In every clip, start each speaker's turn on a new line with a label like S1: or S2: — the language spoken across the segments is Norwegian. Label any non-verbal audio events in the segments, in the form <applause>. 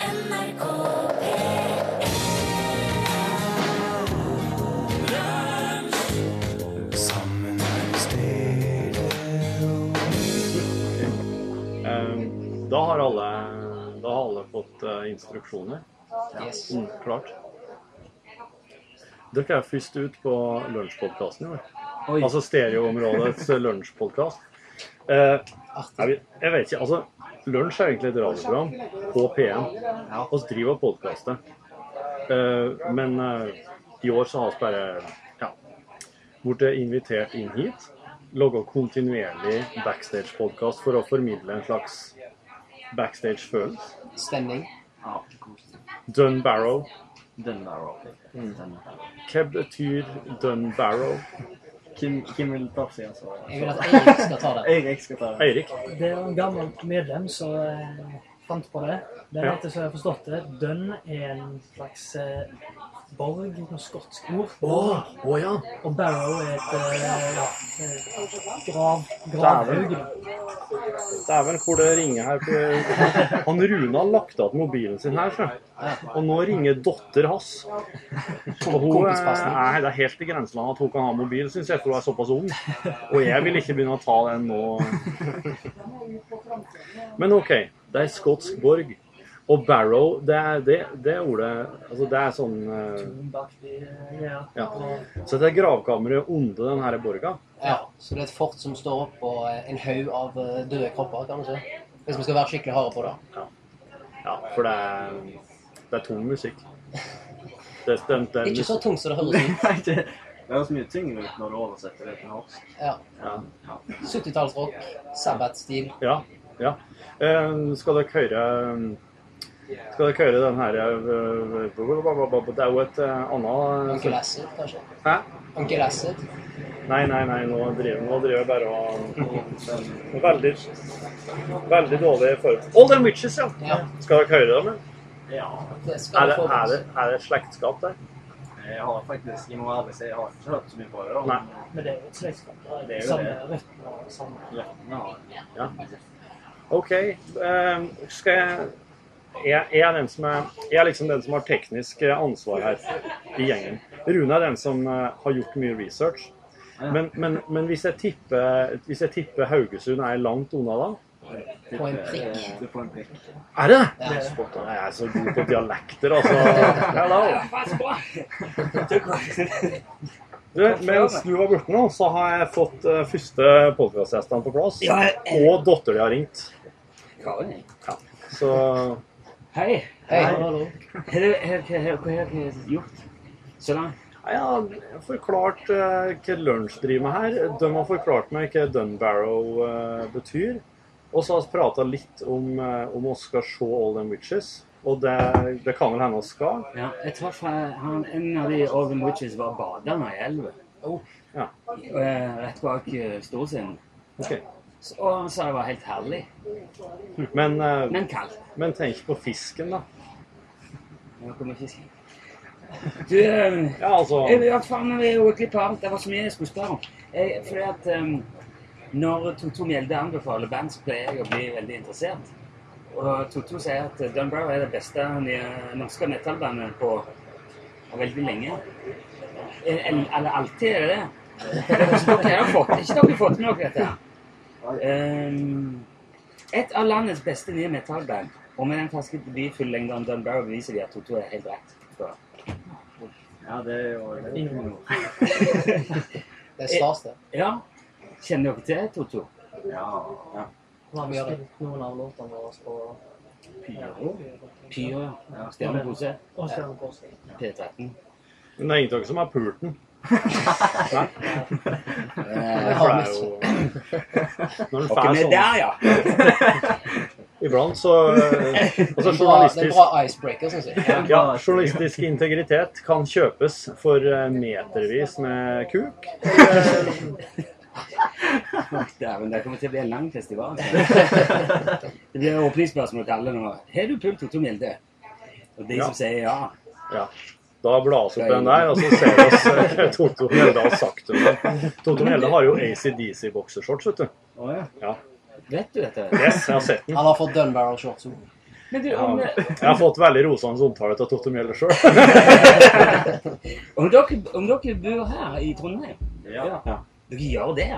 S1: NRK
S2: Sammen er vi
S3: Eh, Da har alle, da har alle fått eh, instruksjoner. Mm, klart. Dere er først ut på lunsjpodkasten i år.
S4: Oi.
S3: Altså stereoområdets lunsjpodkast. Eh, jeg, vet- jeg vet ikke, altså Lunsj er egentlig et radioprogram på P1.
S4: Ja.
S3: Vi driver og podkaster. Eh, men eh, i år så har vi bare ja, blitt invitert inn hit. Laga kontinuerlig backstage-podkast for å formidle en slags backstage-følelse.
S4: Stemning. Ja, koselig.
S3: Dun Barrow.
S4: Den der òg. Den der.
S3: Hva betyr Dun Barrow?
S5: Kim, Kim vil ta seg, altså.
S4: Jeg vil at Eirik skal ta
S3: <laughs>
S4: det.
S5: Eirik skal ta det.
S3: Eirik.
S6: Det er jo en gammel medlem som eh, fant på det. Den
S3: Ja.
S6: heter, som jeg har forstått det, Dønn er en slags eh, borg, noe skotsk ord.
S3: å ja.
S6: Og Barrow er et eh, eh, grav, gravhaug. da.
S3: Dæven, hvor det ringer her. På... Han Rune har lagt av mobilen sin her, tror jeg. Og nå ringer datter hans. Og hun er,
S4: Kompispassen.
S3: nei, det er helt i grenseland at hun kan ha mobil, syns jeg, for hun er såpass ung. Og jeg vil ikke begynne å ta den nå. Men OK, det er skotsk borg. Og Barrow, det er det, det er ordet Altså, det er sånn eh,
S6: Bak de, eh, ja.
S3: Ja. Så det er gravkammeret under den her borga.
S4: Ja, så det er et fort som står oppå en haug av eh, døde kropper, kan du si. Hvis vi skal være skikkelig harde på det.
S3: Ja, for det er, det er tung musikk. Det, den, den,
S4: Ikke så tungt som det høres ut.
S5: <laughs> Nei, det det høres mye tyngre ut når du oversetter det til norsk.
S4: Ja.
S3: Ja.
S4: 70-tallsrock, sabbatstil.
S3: Ja. ja. Eh, skal dere høre Skal dere høre den her eh, Det er jo et eh, annet
S4: Uncle Acid, kanskje.
S3: Hæ?
S4: Uncle Acid.
S3: Nei, nei, nei, nå driver, nå driver jeg bare og Veldig Veldig dårlig form. All them witches, ja.
S4: Ja.
S3: Skal dere høre dem? eller?
S5: Ja.
S4: Det skal
S3: Er
S4: vi
S3: det,
S4: få med
S3: er, det,
S4: oss.
S3: er det et slektskap der?
S5: Jeg har faktisk, jeg må ærlig si, jeg har ikke hørt så mye på det. da.
S3: Nei.
S6: Men det er jo et slektskap. da. Det
S5: Det er
S6: er
S5: jo
S6: samme
S5: det.
S6: røtter og samme
S5: Ja.
S3: OK. eh, skal jeg jeg, jeg, er den som er, jeg er liksom den som har teknisk eh, ansvar her i gjengen. Rune er den som eh, har gjort mye research. Men, men, men hvis, jeg tipper, hvis jeg tipper Haugesund er langt unna da
S4: På en prikk.
S5: Eh, Du får en prikk.
S3: Er det det?
S4: Ja.
S3: Spot on. Jeg er så god på dialekter, altså. Hello. Du, mens du var borte nå, så har jeg fått eh, første podkastgjestene på plass. Og dattera di har ringt.
S7: Karin.
S3: Så
S7: Hei.
S4: Hei.
S7: Hva har dere gjort så langt?
S3: Nei, Jeg har forklart eh, hva lunsj driver med her. De har forklart meg hva Dunbarrow eh, betyr. Og så har vi prata litt om eh, om vi skal se All Them Witches. Og det, det kan vel hende vi skal.
S7: Ja, jeg traff eh, han, en av de Organ Witches var badende i elva.
S4: Oh.
S3: Ja.
S7: Eh, Rett bak eh, Storsiden.
S3: Ok.
S7: Så- Og han sa det var helt herlig,
S3: Men, eh,
S7: men kaldt.
S3: men tenk på fisken, da.
S7: Nå kommer fisken. Du, eh,
S3: Ja, altså
S7: jeg vet faen, jeg er jo klipp av alt. Det var så mye jeg skulle spørre om. Jeg, fordi at eh, når Toto Mjelde anbefaler band, så pleier jeg å bli veldig interessert. Og Toto sier at Dunbar er det beste nye norske metallbandet på veldig lenge. Eller, eller alltid er det det. Så Dere har fått, ikke dere har fått med dere dette. Ehm, et av landets beste nye metallband. Og med den ferske debutfullengden Dunbar beviser de at Toto er helt rett. Så.
S5: Ja, det er jo det er jo noe.
S4: Det er stas, det.
S7: Ja. Kjenner dere til Toto?
S5: Ja.
S6: Nå har vi
S4: Ja, det-
S6: spilt noen av låtene våre på
S7: Pyro. Pyro, ja. Stjernekose.
S6: Og Stjerne Kårstø.
S7: P13.
S3: Men det er ingen som har pult den.
S7: Eh,
S3: For det er
S4: <laughs>
S3: jo Når en
S7: Dere
S3: får
S7: er
S3: sånn
S7: der, ja!
S3: iblant, så eh, Altså,
S4: Det er <laughs> bra, det er
S3: journalistisk
S4: bra icebreaker, syns jeg.
S3: ja, Journalistisk integritet kan kjøpes for eh, metervis med kuk.
S7: Dæven, det kommer til å bli en lang festival. altså.
S3: <laughs>
S7: Det blir åpningsspørsmål til alle nå. Har du pult Toto Mjelde? Og de
S3: Ja.
S7: som sier ja.
S3: Ja. Da blas opp den der, og så ser vi oss <laughs> eh, hva Toto Mjelde har sagt om det. Toto Mjelde har jo ACDC-boksershorts, vet du.
S5: Å ja.
S7: Vet du dette?
S3: Yes, jeg har sett den.
S4: Han har fått Dunbarrow shorts òg.
S7: Men du,
S3: Jeg
S7: om,
S3: har, jeg har fått veldig rosende omtale av Totte Mjelde sjøl.
S7: om, dere, om dere bor her i Trondheim
S5: Ja.
S7: Dere gjør det?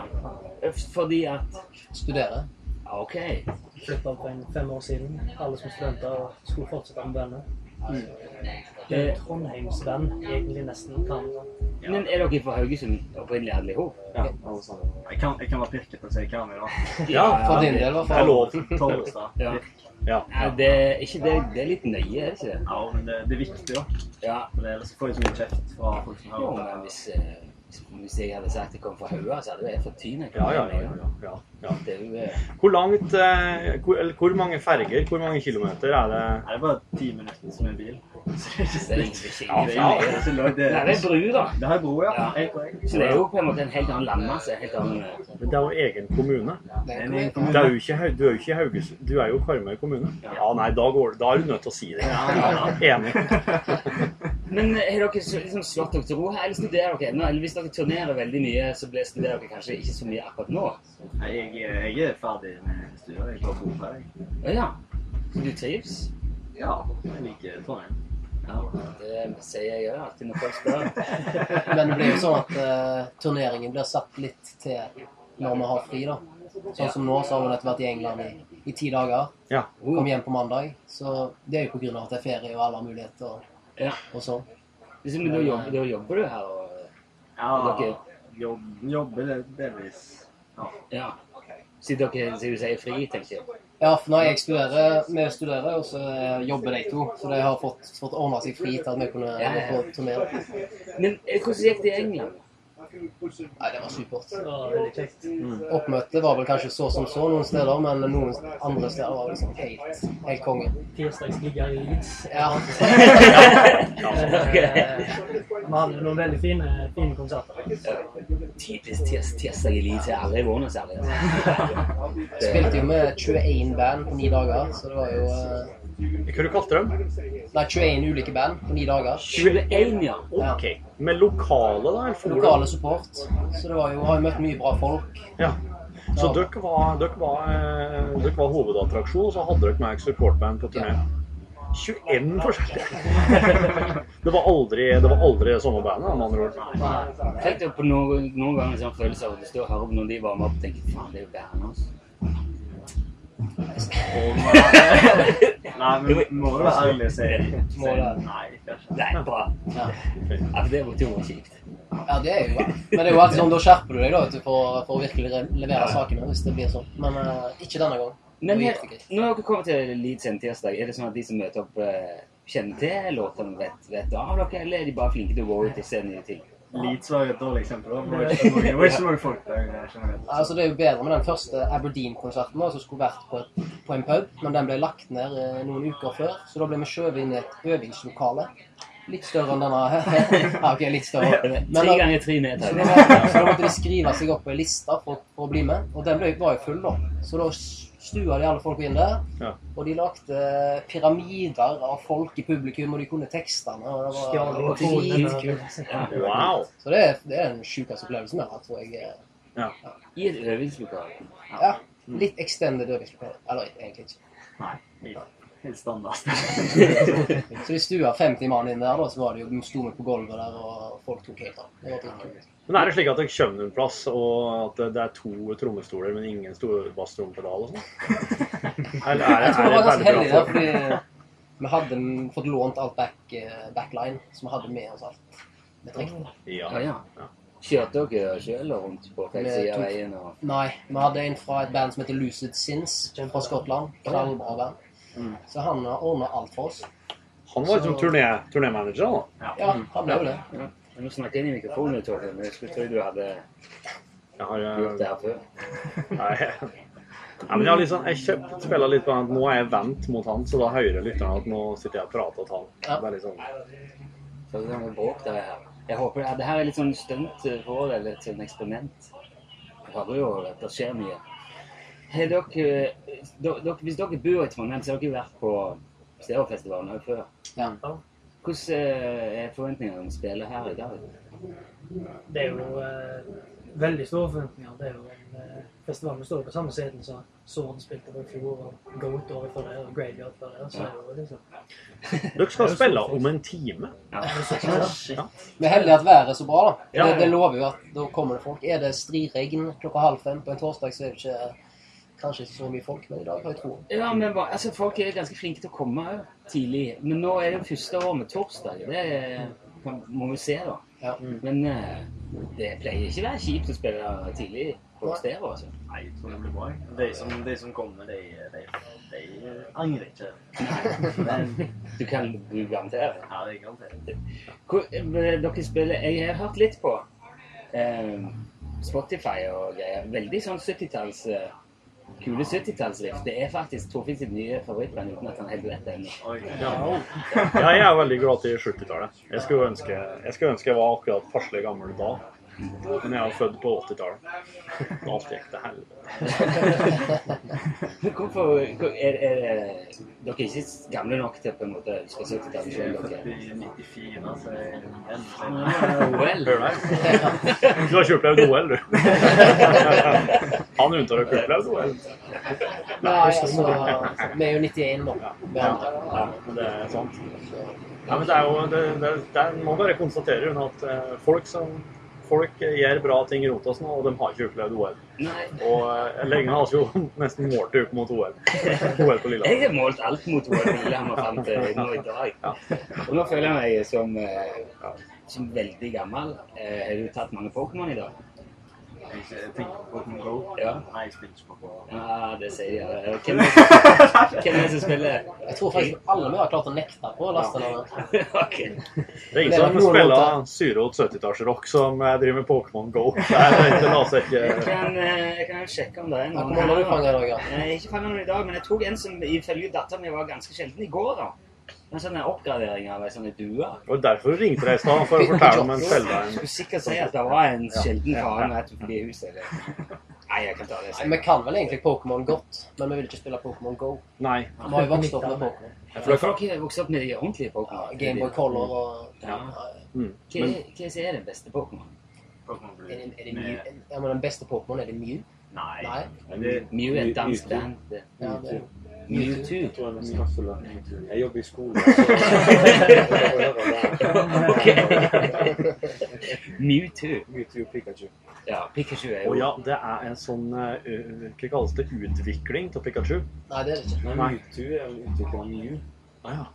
S7: Fordi at
S4: Studere.
S7: ja, OK. Eh,
S6: Flytta opp for en fem år siden. Alle som studenter skulle fortsette med bandet. Det er Trondheimsband, egentlig nesten. Kan.
S7: Men er dere fra Haugesund opprinnelig alle i hop?
S5: ja. alle sammen. Jeg kan, jeg kan være pirket på å si hva han er da.
S3: Ja,
S4: For din del, i hvert
S3: Det er
S4: fall.
S3: lov.
S5: Tollestad.
S7: Ja.
S5: Pirk.
S3: Ja.
S7: Ja, det, er ikke det, det er litt nøye, er det ikke det?
S5: Ja, men det, det er viktig, da.
S7: Ja.
S5: For ellers får jeg så mye kjeft fra folk som
S7: Jo,
S5: hører
S7: men
S5: på.
S7: hvis, eh, hvis- hvis jeg hadde sagt jeg kom fra Haua, så hadde jo jeg fått tyne.
S3: Ja, ja, ja, ja, ja, ja.
S7: Det er jo eh,
S3: Hvor langt eh, hvor, eller hvor mange ferger, hvor mange kilometer er det
S5: Det er bare ti minutter med bil.
S7: det er liksom ikke
S3: Ja,
S5: Det
S7: det
S5: er
S7: er jo-
S5: jo- det er så langt, det
S7: Nei, det er
S5: er-
S7: bru, da.
S5: Det har jeg bro, ja.
S7: Ja.
S5: Helt korrekt.
S7: Så det er jo på en måte en helt annen landmasse. en Helt annen eh,
S3: Men det er jo egen kommune.
S4: Det
S5: Det
S4: er
S5: er en egen
S4: ikke-
S3: Det er jo ikke, Haug- du er jo ikke i Haugesund. Du er jo Karmøy kommune. Ja, nei, da, går det, da er du nødt til å si det.
S5: Ja, ja, ja.
S3: Enig.
S7: Men har dere så- liksom slått dere til ro her, eller studerer dere ennå? Eller hvis dere turnerer veldig mye, så ble- studerer dere kanskje ikke så mye akkurat nå?
S5: <laughs> Nei, Jeg, jeg er ferdig med studiet. Jeg bare bor ferdig.
S7: Å ja. Så du trives?
S5: Ja, jeg liker Trondheim.
S7: Ja, det sier jeg òg alltid når folk <laughs> spør.
S4: Men det blir jo sånn at eh, turneringen blir satt litt til når vi har fri, da. Sånn som nå, så har vi nettopp vært i England i, i ti dager.
S3: Ja.
S7: Oh.
S4: Kom hjem på mandag. Så det er jo på grunn av at det er ferie og alle har muligheter og,
S7: Ja.
S4: og sånn.
S7: Liksom, da, jobber, da jobber du her og eh,
S5: Ja,
S7: Dere-
S5: jobb, jobber det- delvis. Ja.
S7: Ja. Siden dere siden du sier fri, tenker jeg.
S4: Ja, for når jeg studerer, vi studerer, og så eh, jobber de to. Så de har fått, fått ordna seg fri til at vi kunne
S7: Ja,
S4: gå
S7: ja.
S4: på turné.
S7: Men eh, hvordan gikk det i England?
S4: Nei, det var supert.
S6: Det var veldig kjekt.
S4: Oppmøtet var vel kanskje så som så noen steder, men noen andre steder var liksom helt, helt konge.
S6: Tirsdagsligger i Leeds.
S4: Ja.
S7: <laughs>
S6: Eh, Vi hadde noen veldig fine, fine konserter.
S7: Typisk tirs- tirsdag i altså, Leeds. Jeg har aldri vært noe særlig.
S4: Spilte jo med 21 band på ni dager, så det var jo eh,
S3: Hva du kalte du dem?
S4: Nei, 21 ulike band på ni dager.
S7: 21, ja.
S3: Ok. Med lokale, da? eller forum?
S4: Lokale support. Så det var jo, har jo møtt mye bra folk.
S3: Ja. Så dere var, dere, var, eh, dere var hovedattraksjon, og så hadde dere med et supportband på turné. 21 forskjellige! <laughs> Det var aldri, det var aldri samme bandet, da, med andre ord.
S7: Tenk deg på noen, noen ganger en sånn følelse av at du står her oppe når de varmer opp og tenker faen, det er jo altså. bandet hans.
S5: Og, nei, men må du være ærlig og si
S4: Må det.
S5: Nei, det er ikke.
S7: Det er bra.
S4: Ja.
S7: Ja, for det måtte jo vært kjipt.
S4: Ja, det er jo Men det er jo alltid sånn, da skjerper du deg da, vet du, for, for å virkelig re- levere sakene, hvis det blir sånn. Men eh, ikke denne gangen.
S7: Men
S4: Nå
S7: her,
S4: gikk det greit.
S7: når dere kommer til Leeds en tirsdag, er det sånn at de som møter opp, eh, kjenner til låtene, vet, vet av dere, eller er de bare flinke til å gå ut og se nye ting?
S5: Leeds var jo et dårlig eksempel. da. Det var ikke så mange- det var ikke så mange folk der. eh, generelt.
S4: Altså, det er jo bedre med den første Aberdeen-konserten da, som skulle vært på, et, på en pub, men den ble lagt ned eh, noen uker før, så da ble vi skjøvet inn i et øvingslokale. Litt større enn denne her. <laughs> ja, ok, litt større. Men
S7: <laughs> Tre
S4: da-
S7: ganger tre
S4: så
S7: meter.
S4: da, var- så da måtte de skrive seg opp på en liste for, for å bli med, og den ble, var jo full da. Så da stua de alle folk inn der,
S3: Ja.
S4: og de lagde pyramider av folk i publikum, og de kunne tekstene, og det var...
S6: Stjal
S4: det var dritkult.
S7: Ja.
S3: Wow!
S4: Så det er, det er den sjukeste opplevelsen jeg har hatt, tror jeg.
S7: I et øvingslokale.
S4: Ja, litt extended øvingslokale. Eller egentlig ikke.
S5: Nei, helt standard.
S4: Så de stua 50 mann inn der, da, så var det jo, de sto med på gulvet der, og folk tok helt av. Det var dritkult.
S3: Men er det slik at dere kommer en plass, og at det- det er to trommestoler, men ingen store basstrompedal og
S4: <laughs>
S3: sånn? Eller er det,
S4: Jeg tror
S3: er
S4: vi
S3: det
S4: var
S3: veldig
S4: ganske heldige
S3: bra
S4: der, fordi vi hadde fått lånt alt back, eh, backline, så vi hadde med oss alt. Vi trengte.
S7: Ja,
S3: Ja.
S7: ja. Kjørte dere selv rundt på feil side av veien? Og...
S4: Nei, vi hadde en fra et band som heter Lucid Sins fra Skottland. Knallbra band. Så han ordna alt for oss.
S3: Han var liksom turné, turnémanager, da.
S4: Ja, han ble jo det.
S7: Ja. Jeg må snakke inn i mikrofonen, Torfinn. men Jeg skulle tro du hadde
S3: Jeg har,
S7: gjort
S3: eh,
S7: det her før.
S3: <laughs> Nei. Nei, men jeg har liksom, jeg kjøpt, spiller litt på han. Nå er jeg vendt mot han, så da hører lytterne at nå sitter jeg og prater til han.
S4: Ja.
S3: Det er litt sånn,
S7: Så det er noe bråk der her. Jeg håper det, det her er litt sånn stunt eh, for vår del, et sånn eksperiment. Jeg hører jo at det skjer mye. Har dere, eh, do- dere, hvis dere bor i Trondheim, så har dere vært på Stereofestivalen også før.
S4: Ja.
S7: Hvordan eh, er forventningene om å spille her i dag?
S6: Det er jo eh, veldig store forventninger. Det er jo en eh, festivalen står jo på samme scenen som Sword spilte på i fjor, og Goat året før det, og Graveyard før det. Så er det jo liksom
S3: Dere skal spille om en time. Ja.
S4: Vi er heldige at været er så bra, da.
S3: Ja.
S4: Det, det lover jo at da kommer det folk. Er det striregn klokka halv fem på en torsdag, så er det ikke kanskje ikke så mye folk, men i dag har jeg tro.
S7: Ja, men hva- altså, Folk er jo ganske flinke til å komme her tidlig. Men nå er det jo første år med torsdag. Det er- kan, må vi se, da.
S4: Ja. <laughs>
S7: Men eh, det pleier ikke å være kjipt å spille tidlig på
S4: Nei.
S7: Stero. Altså.
S5: Nei, jeg tror det blir bra. jeg. De som, de som kommer, de, de, de angrer ikke. Men
S7: Du kan du garantere.
S5: ja, det er garantert.
S7: Hvor, eh, dere spiller Jeg har hørt litt på eh, Spotify og greier. Veldig sånn 70-talls eh, Kule 70-tallsriff. Det er faktisk Torfinn sitt nye favorittband uten at han helt vet det ennå. <laughs>
S5: Oi.
S3: Ja, jeg er veldig glad til 70-tallet. Jeg skulle ønske jeg, skulle ønske jeg var akkurat passelig gammel da. Men jeg er jo født på 80-tallet. Og Alt gikk til helvete.
S7: Men Hvorfor hvor- er, er det- Dere er ikke gamle nok til på en måte å huske 70-tallet
S5: Jeg er
S7: selv,
S5: født
S7: dere?
S5: i 94, så jeg er enda
S7: Ah, Well.
S3: Hør deg. Du har ikke opplevd OL, du. Han unntar å ikke opplevd OL.
S4: Nei, altså Vi er jo 91 nå. Vi andre.
S3: Ja, men det er sant. Ja, men det er jo, det, det, det er, må bare konstatere Rune, at eh, folk, som, folk eh, gjør bra ting rundt oss nå, og de har ikke opplevd OL.
S7: Nei.
S3: Og eh, lenge har vi jo <laughs> nesten målt det opp mot OL. OL på
S7: Jeg
S3: Lillehammer.
S7: har målt alt mot Royal Lillehammer fram til nå i dag. Og nå føler jeg meg som, eh, som veldig gammel. Eh, Har du tatt mange Pokémon i dag?
S5: Jeg jeg tenker på Pokémon Go.
S7: Ja.
S5: Nei, jeg spiller ikke på Pokémon.
S7: Ja, det sier jeg. <laughs> Eh, Hvem er det- hvem er det som spiller?
S4: Jeg tror faktisk alle vi har klart å nekte på å laste ned.
S7: <laughs> Ok.
S3: Det er ingen som spiller syrot 70-tallsrock som eh, driver med Pokémon Go. Det, er, det lar seg
S7: Jeg
S3: ikke
S7: kan, eh, jeg kan jo sjekke om det er
S4: Hvor mange har du fanget
S7: noen.
S4: i dag, ja?
S7: Jeg har ikke fanget noen i dag, men jeg tok en som ifølge datteren min var ganske sjelden i går. da. En sånn oppgradering av ei sånn due.
S3: Og derfor ringte jeg i stad, for å fortelle om en Selda.
S7: Jeg skulle sikkert si at det var en sjelden faen rett forbi huset. eller- Nei, jeg kan ta det.
S4: Nei, Vi kan vel egentlig Pokémon godt, men vi vil ikke spille Pokémon Go.
S3: Nei.
S4: Vi har jo vokst opp med Pokémon.
S7: For folk har vokst opp med de ordentlige Pokémon.
S4: Gameboy Color og
S7: Ja.
S3: Mm.
S7: Hva hva er den beste Pokémon?
S5: Pokémon Blue.
S4: Er det, er det Mew?
S5: Med-
S4: Ja, men den beste Pokémon, er det Mew?
S5: Nei.
S4: Nei?
S5: Det-
S7: Mew er et dansk band. det.
S4: Ja, det er
S7: Mewtwo.
S1: Jeg tror jeg må skaffe det. Jeg jobber i skolen. Så
S7: Ok. Mewtwo.
S1: Mewtwo og Pikachu.
S7: Ja, Pikachu er
S3: Og
S7: jo
S3: ja, det er en sånn eh, ø- Hva kalles det? Utvikling av Pikachu?
S4: Nei, det er det ikke.
S1: Nei, Mewtwo er en utvikling av Mew.
S3: Ah, ja.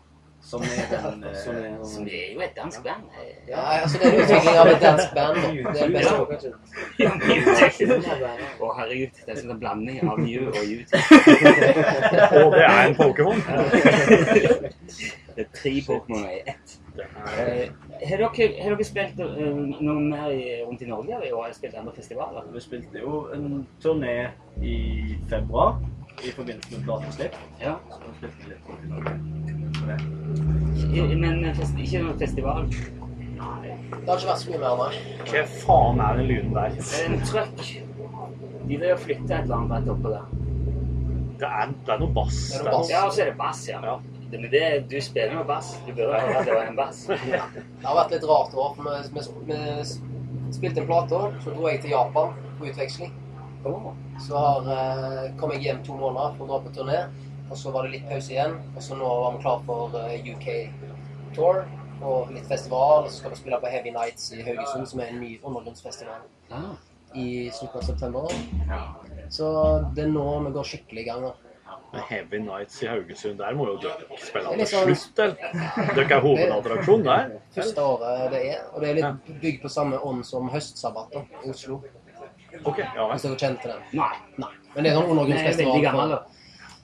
S5: Som er
S4: <laughs>
S5: den eh,
S1: Som er
S7: Som
S1: en
S7: er jo et dansk band. eh.
S4: Ja, altså, det er en utvikling av et dansk band. Det er best Pokémon.
S1: Mewtwo.
S7: <laughs> Ja, Mewtwo. Å, herregud. Det er sånn en blanding av Mew og Mewtwo.
S3: <laughs> Og det er en Pokémon!
S7: Det er tre Pokémoner i ett.
S3: Det er-
S7: Eh, Har dere, har dere spilt eh, noe mer i- rundt i Norge i år? Har dere spilt andre festivaler?
S5: Vi spilte jo en turné i februar i forbindelse med plateslipp.
S7: Ja.
S5: Så vi spilte litt rundt i Norge for det.
S7: I- Men fest, ikke noen festival?
S4: Det har ikke vært så mye mer, nei.
S3: Hva faen er den lyden der?
S7: Det er en trøkk. De vil jo flytte et eller annet rett oppå der.
S3: Det er, det er noe bass.
S4: Det er
S3: Det
S4: noe
S3: er
S4: bass.
S7: Ja, og så er det bass, ja.
S3: Ja.
S7: Det, men det, du spiller jo bass. Du burde høre at det var en bass.
S4: Det har vært litt rart år, for vi, vi, vi spilte en plate, så dro jeg til Japan på utveksling.
S7: Åh.
S4: Så har, eh, kom jeg hjem to måneder for å dra på turné, og så var det litt pause igjen. Og så nå var vi klar for eh, UK Tour og litt festival, og så skal vi spille på Heavy Nights i Haugesund, som er en ny undergrunnsfestival.
S7: Ah.
S4: i slutten av september. Så det er nå vi går skikkelig i gang. da.
S3: Men Heavy Nights i Haugesund, der må jo dere spille
S4: Det er
S3: til
S4: litt sånn-
S3: slutt, eller? Dere er hovedattraksjon der?
S4: Første året det er, og det er litt bygd på samme ånd som Høstsabbat da, i Oslo.
S3: Ok, ja vel.
S4: Hvis dere kjente den.
S7: Nei.
S4: Nei. Men det er sånn
S7: Jeg er
S4: undergrunnsfestival.
S7: veldig gammel,
S4: for-
S7: da.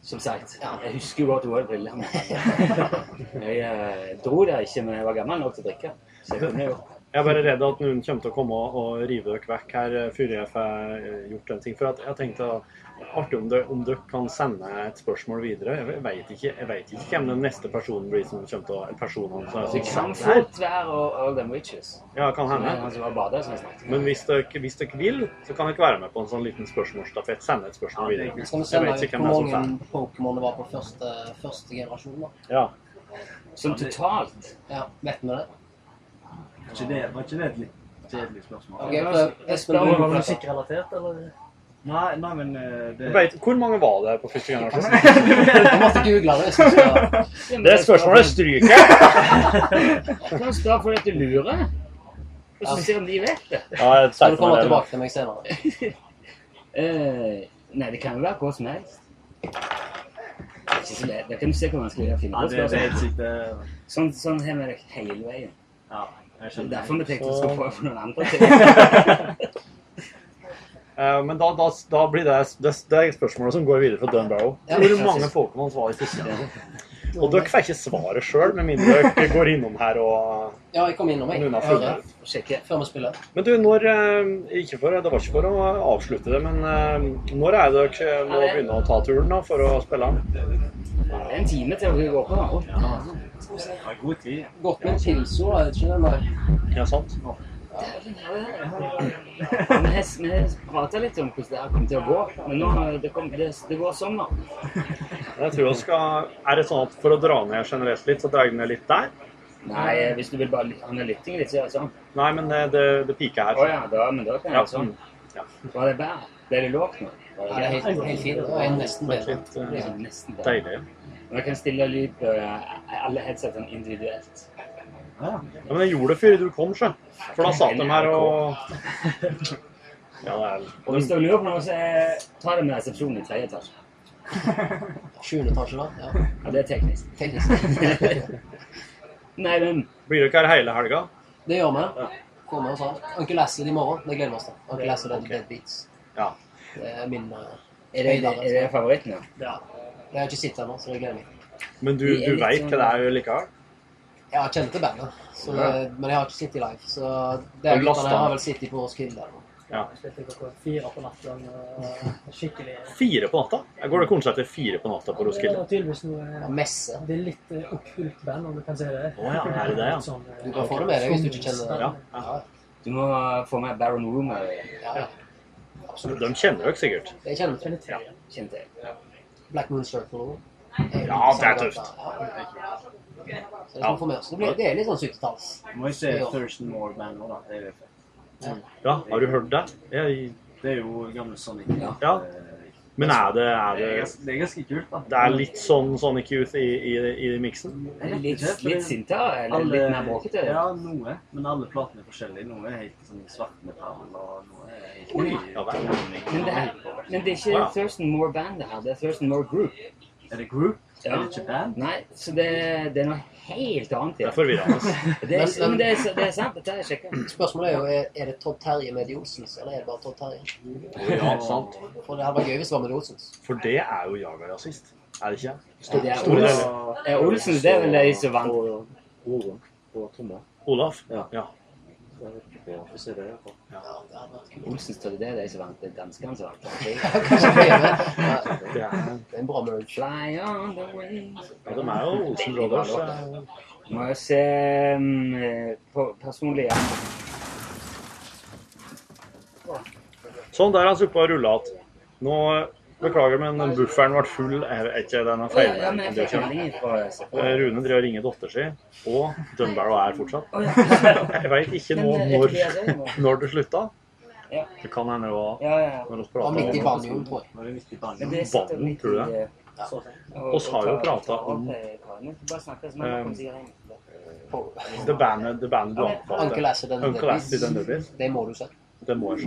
S7: Som sagt.
S4: Ja.
S7: Jeg husker jo godt hun hadde briller. men- Jeg eh, dro der ikke men jeg var gammel nok til å drikke. Så jeg kunne jo
S3: Jeg er bare redd at noen kommer til å komme og- og rive dere vekk her eh, før jeg får eh, gjort den ting. For at jeg tenkte at artig om dere, om dere kan sende et spørsmål videre. Jeg vet ikke, jeg vet ikke hvem den neste personen blir som kommer til å personen som er
S7: Det kan
S3: suksess her.
S7: fort være og All Them Witches.
S3: Ja, kan
S7: Som
S3: hende.
S7: er han som var badet, som jeg snakket om.
S3: Men hvis dere, hvis dere vil, så kan dere være med på en sånn liten spørsmålsstafett. Sende et spørsmål
S5: Ja, det er
S3: videre.
S4: Skal
S3: Jeg
S4: vi sende
S3: vet
S4: ut
S3: ikke
S4: hvor
S3: hvem det er som
S4: mange Pokémon det var på første, første generasjon? da?
S3: Ja.
S7: Som totalt
S4: Ja, Vet vi det?
S5: Var ikke det- Var ikke det et litt kjedelig spørsmål?
S4: Ok, prøv. Espen,
S6: Var
S4: du
S6: det
S4: må prøve.
S6: musikkrelatert, eller?
S5: Nei, nei, men eh, det
S3: Vet, hvor mange var det på første gang? Karsten?
S4: Jeg måtte google det. hvis jeg skal-
S3: Det spørsmålet stryker jeg.
S7: Du kan spørre fordi at du lurer. Og så
S4: Ja.
S7: ser om de vet det.
S3: Ja, jeg
S4: Skal du
S3: sterk
S4: komme
S3: med det.
S4: tilbake til meg senere?
S7: Eh, nei, det kan jo være hva som helst. Det er ikke så lett. Da kan du se hvor vanskelig det er å finne
S5: Nei,
S7: på
S5: det, det er
S7: spørsmål.
S5: helt sykt. det-
S7: Sånn, sånn har vi det hele veien.
S5: Ja, jeg
S7: Det er
S5: skjønner.
S7: derfor vi tenkte sånn. vi skulle prøve for noen andre ting.
S3: Eh, Men da, da, da blir det, det, det er spørsmålet som går videre fra Dunbarrow.
S4: Ja,
S3: Hvor
S4: precis.
S3: mange Pokémon var i siste gang? Og dere får ikke svaret sjøl, med mindre dere går innom her og
S4: Ja, jeg kom innom, jeg.
S3: Noen har
S4: Jeg
S3: funnet
S4: hører
S3: det.
S7: Sjekke.
S4: før vi spiller.
S3: Men du, når eh, Ikke for Det var ikke for å avslutte det, men eh, når er det dere må begynne å ta turen da, for å spille den?
S7: Det er en time til vi går på. da.
S5: Ja, det var god tid.
S4: Godt med en pilso, er det ikke det? Nei.
S3: Ja, sant?
S7: Vi har- Vi har prata litt om hvordan det her kommer til å gå, men nå har det, kom, det, det går sånn, sommer.
S3: Jeg tror jeg skal Er det sånn at for å dra ned generelt litt, så drar jeg ned litt der?
S7: Nei, eh, hvis du vil bare lyt- ha noe lytting litt, så gjør det sånn.
S3: Nei, men det, det, det piker
S7: Å
S3: her.
S7: ja, da, men da kan jeg
S3: Ja,
S7: gjøre sånn.
S3: mm.
S7: Var det bæ? Ble det lågt nå?
S4: Ja,
S7: Var
S4: det er
S7: det
S4: helt, helt fint. Det er nesten
S3: Det er
S4: bedre.
S3: litt eh,
S7: Ja, nesten bæ.
S3: deilig.
S7: Og jeg kan stille lyd på eh, alle headsetene individuelt.
S3: Ja, men jeg gjorde det før du kom, sjø. For da satt de her <laughs> og Ja, det er
S7: Og hvis dere lurer på noe, så eh, ta det med resepsjonen i tredje etasje.
S4: Sjuende etasje, da. Ja.
S7: Ja, det er teknisk.
S4: Teknisk.
S7: Nei, men
S3: Blir dere her hele helga?
S4: Det gjør vi. Kommer oss av. Onkel Acid i morgen. Det gleder vi oss til. Onkel Acid and the Dead Beats.
S3: Ja.
S4: Det er min eh, altså.
S7: er det, er det favoritten? da?
S4: Ja. Jeg har ikke sett ennå, så det gleder jeg meg.
S3: Men du, du veit hva det er sånn- likevel?
S4: Jeg har kjent til bandet, så,
S3: Ja.
S4: men jeg har ikke sett i live. Så det
S3: Har
S4: er
S3: du
S4: guttene
S3: lastet
S4: jeg har
S3: den?
S4: vel sett i på Roskilde. eller noe.
S3: Ja.
S6: Jeg spilte klokka fire på natten. og Skikkelig
S3: Fire på natta? Jeg går det konsert til fire på natta på
S6: Det
S3: Roskilde?
S6: er tydeligvis
S4: Ja,
S6: noe
S4: messe.
S6: Det er litt eh, okkult band, om du kan si det.
S3: Å ja, er det det, ja?
S6: Sånn, eh,
S4: Du kan få det med deg hvis du ikke kjenner
S3: Ja.
S4: Ja,
S7: Du må få med Baron Rumor,
S4: ja, ja. Absolutt.
S3: De kjenner dere sikkert.
S4: Jeg kjenner til
S6: Kjenner til det.
S7: kjente jeg.
S4: Black Moon Circle.
S3: Ja, det er tøft.
S4: Ja, ja. Så det,
S3: Ja.
S4: er sånn for meg også. det, blir, det er litt sånn 70-talls.
S5: Må jo se Thurston Moore-band nå, da. Det er, jo fett.
S3: Ja, har du hørt det? Jeg,
S5: det er jo gamle Sonic.
S7: Ja.
S3: Ja.
S5: Eh,
S3: men er det er
S5: Det er,
S3: det,
S5: ganske, det er ganske kult, da.
S3: det er litt sånn Sonic Youth i, i, i miksen?
S7: Er det Litt, litt sintere, eller
S5: Alle-
S7: litt mer bråkete.
S5: Ja, noe. Men alle platene er forskjellige. Noe er helt sånn svartmetall, og noe er helt
S3: Ja vel.
S7: Men det, er, men det er ikke
S3: Wow.
S7: Thurston Moore Band det her, det er Thurston Moore Group.
S5: Er det group?
S7: Ja.
S5: Er det ikke band?
S7: Nei, så det, det er noe helt annet.
S3: Det
S7: Ja.
S3: er forvirrende.
S7: Det er, jo, men det er, det er sant, dette har jeg sjekket.
S4: Spørsmålet er jo er, er det Todd Terje med de Olsens, eller er det bare Todd Terje?
S3: Ja, sant.
S4: For det hadde vært gøy hvis det var med de Olsens.
S3: For det er jo Jaga-rasist. Er det ikke?
S7: Det er
S3: Store
S7: Ols-
S3: deler.
S7: eh, Olsen, det er vel de som vant.
S1: Og- og- og Tomra.
S3: Olaf?
S1: Ja.
S3: Ja.
S1: Ja, vi ser det. ja.
S4: Ja, det hadde vært gøy.
S7: Olsen står det, det er de som vant. Det er danskene som vant.
S4: <laughs> Kanskje flere. Ja,
S3: Det er,
S4: det er en bra merge.
S7: Fly on the wings.
S3: ja, de er jo Olsen Brothers. eh.
S7: Må jeg se mm, eh, på personlig ja.
S3: Sånn, der er han suppa og rulla igjen. Nå beklager, men bufferen ble full. Jeg vet ikke, den er
S7: Å, ja, ja, men jeg fikk
S3: feil.
S7: en melding fra SFO.
S3: Eh, Rune driver og ringer datter si, og Dunbarrow er fortsatt.
S7: Å, ja.
S3: Jeg veit ikke nå
S7: Men, eh,
S3: når,
S7: FBI nå?
S3: <laughs> når det slutta.
S7: Ja.
S3: Det kan hende det var
S7: Ja, ja.
S3: når vi
S4: Det var
S3: pratet
S4: midt i
S3: om
S4: banjoen, tror jeg.
S5: Nå er det midt i
S7: Men
S5: banjoen.
S7: det sitter
S3: Banen,
S7: midt
S3: tror jeg.
S7: i, eh, og-
S3: Oss har jo
S7: og tar-
S3: pratet
S7: tar opp,
S3: om-
S7: eh, Karin. Vi får Bare snakke så mange
S3: Um,
S7: kom sikkert inn.
S3: det bandet det bandet du
S4: Uncle
S3: anbefalte.
S4: Acid and the
S3: Uncle
S4: Dead
S3: Acid and the
S4: Beats.
S3: Dead.
S4: Det må du se.
S3: Det må jeg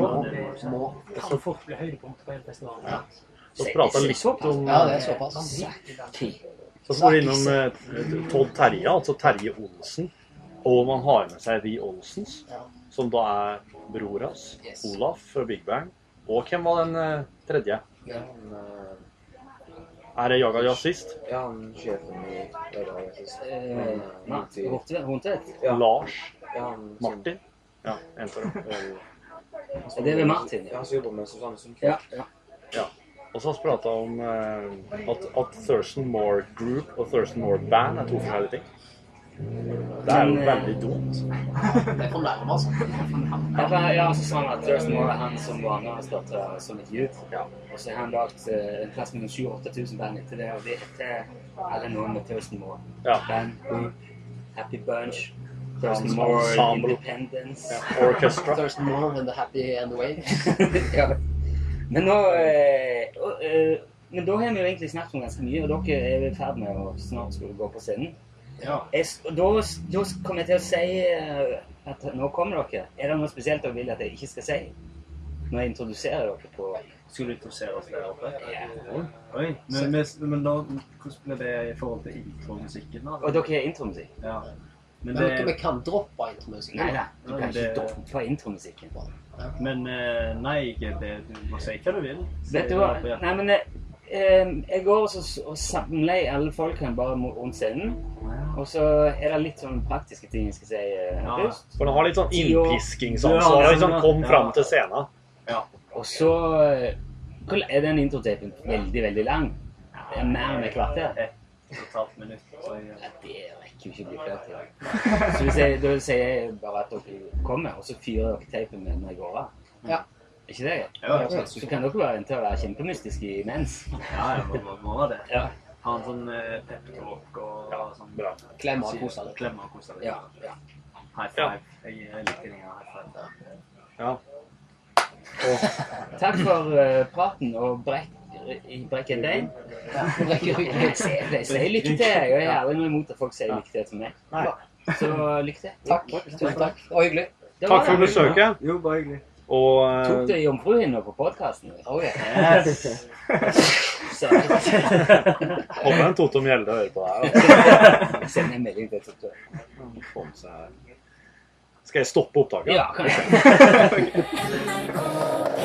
S3: se.
S4: Må.
S6: Det kan fort bli høydepunktet på hele festivalen.
S3: Ja. Så prata litt om
S4: Ja, det er såpass.
S3: Så får vi innom eh, Todd Terje, altså Terje Olsen. Og man har med seg The Olsens,
S4: Ja.
S3: som da er bror hans,
S4: Yes.
S3: Olaf fra Big Bang. Og hvem var den eh, tredje?
S4: Ja.
S1: Han, eh,
S3: Er det Jaga Jazzist?
S1: Ja, han sjefen i Jaga. jeg synes.
S7: Eh, nei, Hortvedt- Hortvedt.
S1: Ja.
S3: Lars?
S1: Ja, han som-
S3: Martin? Ja, en for dem.
S1: Vel, han som-
S7: Ja, det er vel Martin, ja.
S1: Ja, han som jobber med Susanne Sundfjord.
S7: Ja, ja.
S3: Og så har vi prata om eh, at, at Thurston Moore Group og Thurston Moore Band er to forskjellige ting. Det er jo
S7: Men, eh,
S3: veldig dumt. eh,
S4: Det er for nærme, altså.
S7: Ja, for- ja, så sa han at Thurston Moore er han som var med og startet som et youth.
S3: Ja.
S7: Og så har han lagt eh, en plass mellom 7 8 000 band etter det, og det heter alle noen med Thurston Moore.
S3: Ja.
S7: Band, group, Happy Bunch,
S3: Ensemble.
S7: Thurston Moore,
S3: Ensemble.
S7: Independence.
S3: Orchestra.
S4: Thurston Moore and the Happy and the Wave.
S7: <laughs> ja. Men nå eh, og, eh, Men da har vi jo egentlig snakket om ganske mye, og dere er i ferd med å snart skulle gå på scenen.
S5: Ja.
S7: Jeg, s- og da, s- da s- kommer jeg til å si eh, at nå kommer dere. Er det noe spesielt dere vil at jeg ikke skal si når jeg introduserer dere på eh,
S5: Skulle du introdusere oss der oppe?
S7: ja.
S5: Oi. Men, men, men da, hvordan ble det i forhold til intromusikken? da?
S7: Og dere er intromusikk?
S5: Ja. Men,
S4: Men vi
S5: det,
S4: kan droppe intromusikken.
S7: Nei da, du
S5: Nei,
S7: kan ikke
S5: det-
S7: droppe intromusikken.
S5: men eh, nei, ikke det. Du må si hva du vil. Si
S7: Vet du hva?
S5: hva på hjertet.
S7: Nei, men eh, eh, jeg går og så- og samler alle folkene bare mo- rundt scenen. Og så er det litt sånn praktiske ting jeg skal si eh,
S5: Ja.
S7: først.
S3: For den har litt sånn
S5: Ja,
S3: innpiskingsansvar.
S5: ja,
S3: og
S5: ja.
S3: Liksom kom
S5: Ja.
S3: fram til scenen.
S7: Og så eh, hvor la- er den introtapen veldig, veldig lang. Det er mer enn et
S5: eh,
S7: kvarter.
S5: Et og et halvt minutt. Så, jeg-
S7: Ja, det rekker jo ikke å bli klart til. Så hvis jeg, da sier jeg bare at dere kommer, og så fyrer dere tapen med når jeg går av.
S4: Ja.
S7: Er ikke det greit?
S5: ja, ja,
S7: Så kan dere være en til å være kjempemystiske imens.
S5: ja, ja, må- må- må være det.
S7: Ja.
S5: Ha en sånn eh, peptalk og sånn
S3: Bra.
S4: Klemme og kose deg.
S5: Klemme og kose deg.
S7: Ja, ja.
S5: High five. Jeg, jeg liker den her high five.
S7: Takk for eh, praten, og brekk, i brekk en dein.
S4: Nå rekker vi
S7: Jeg <laughs>
S4: ikke.
S7: sier- jeg sier lykke til. Jeg er aldri noe imot at folk sier lykke til til meg.
S3: Nei.
S7: Så lykke til.
S4: Takk. Tusen takk. Det var hyggelig.
S7: Det var
S3: Takk for
S7: det.
S3: besøket.
S5: Jo, bare hyggelig.
S3: Og
S7: Tok
S3: eh,
S7: du jomfruhinna på podkasten?
S4: Oh, yeah.
S3: håper en Toto Mjelde hører på deg. da.
S7: Send en melding til Totto.
S3: Kom seg her. Skal jeg stoppe opptaket?
S7: Ja, kanskje.
S2: NRK.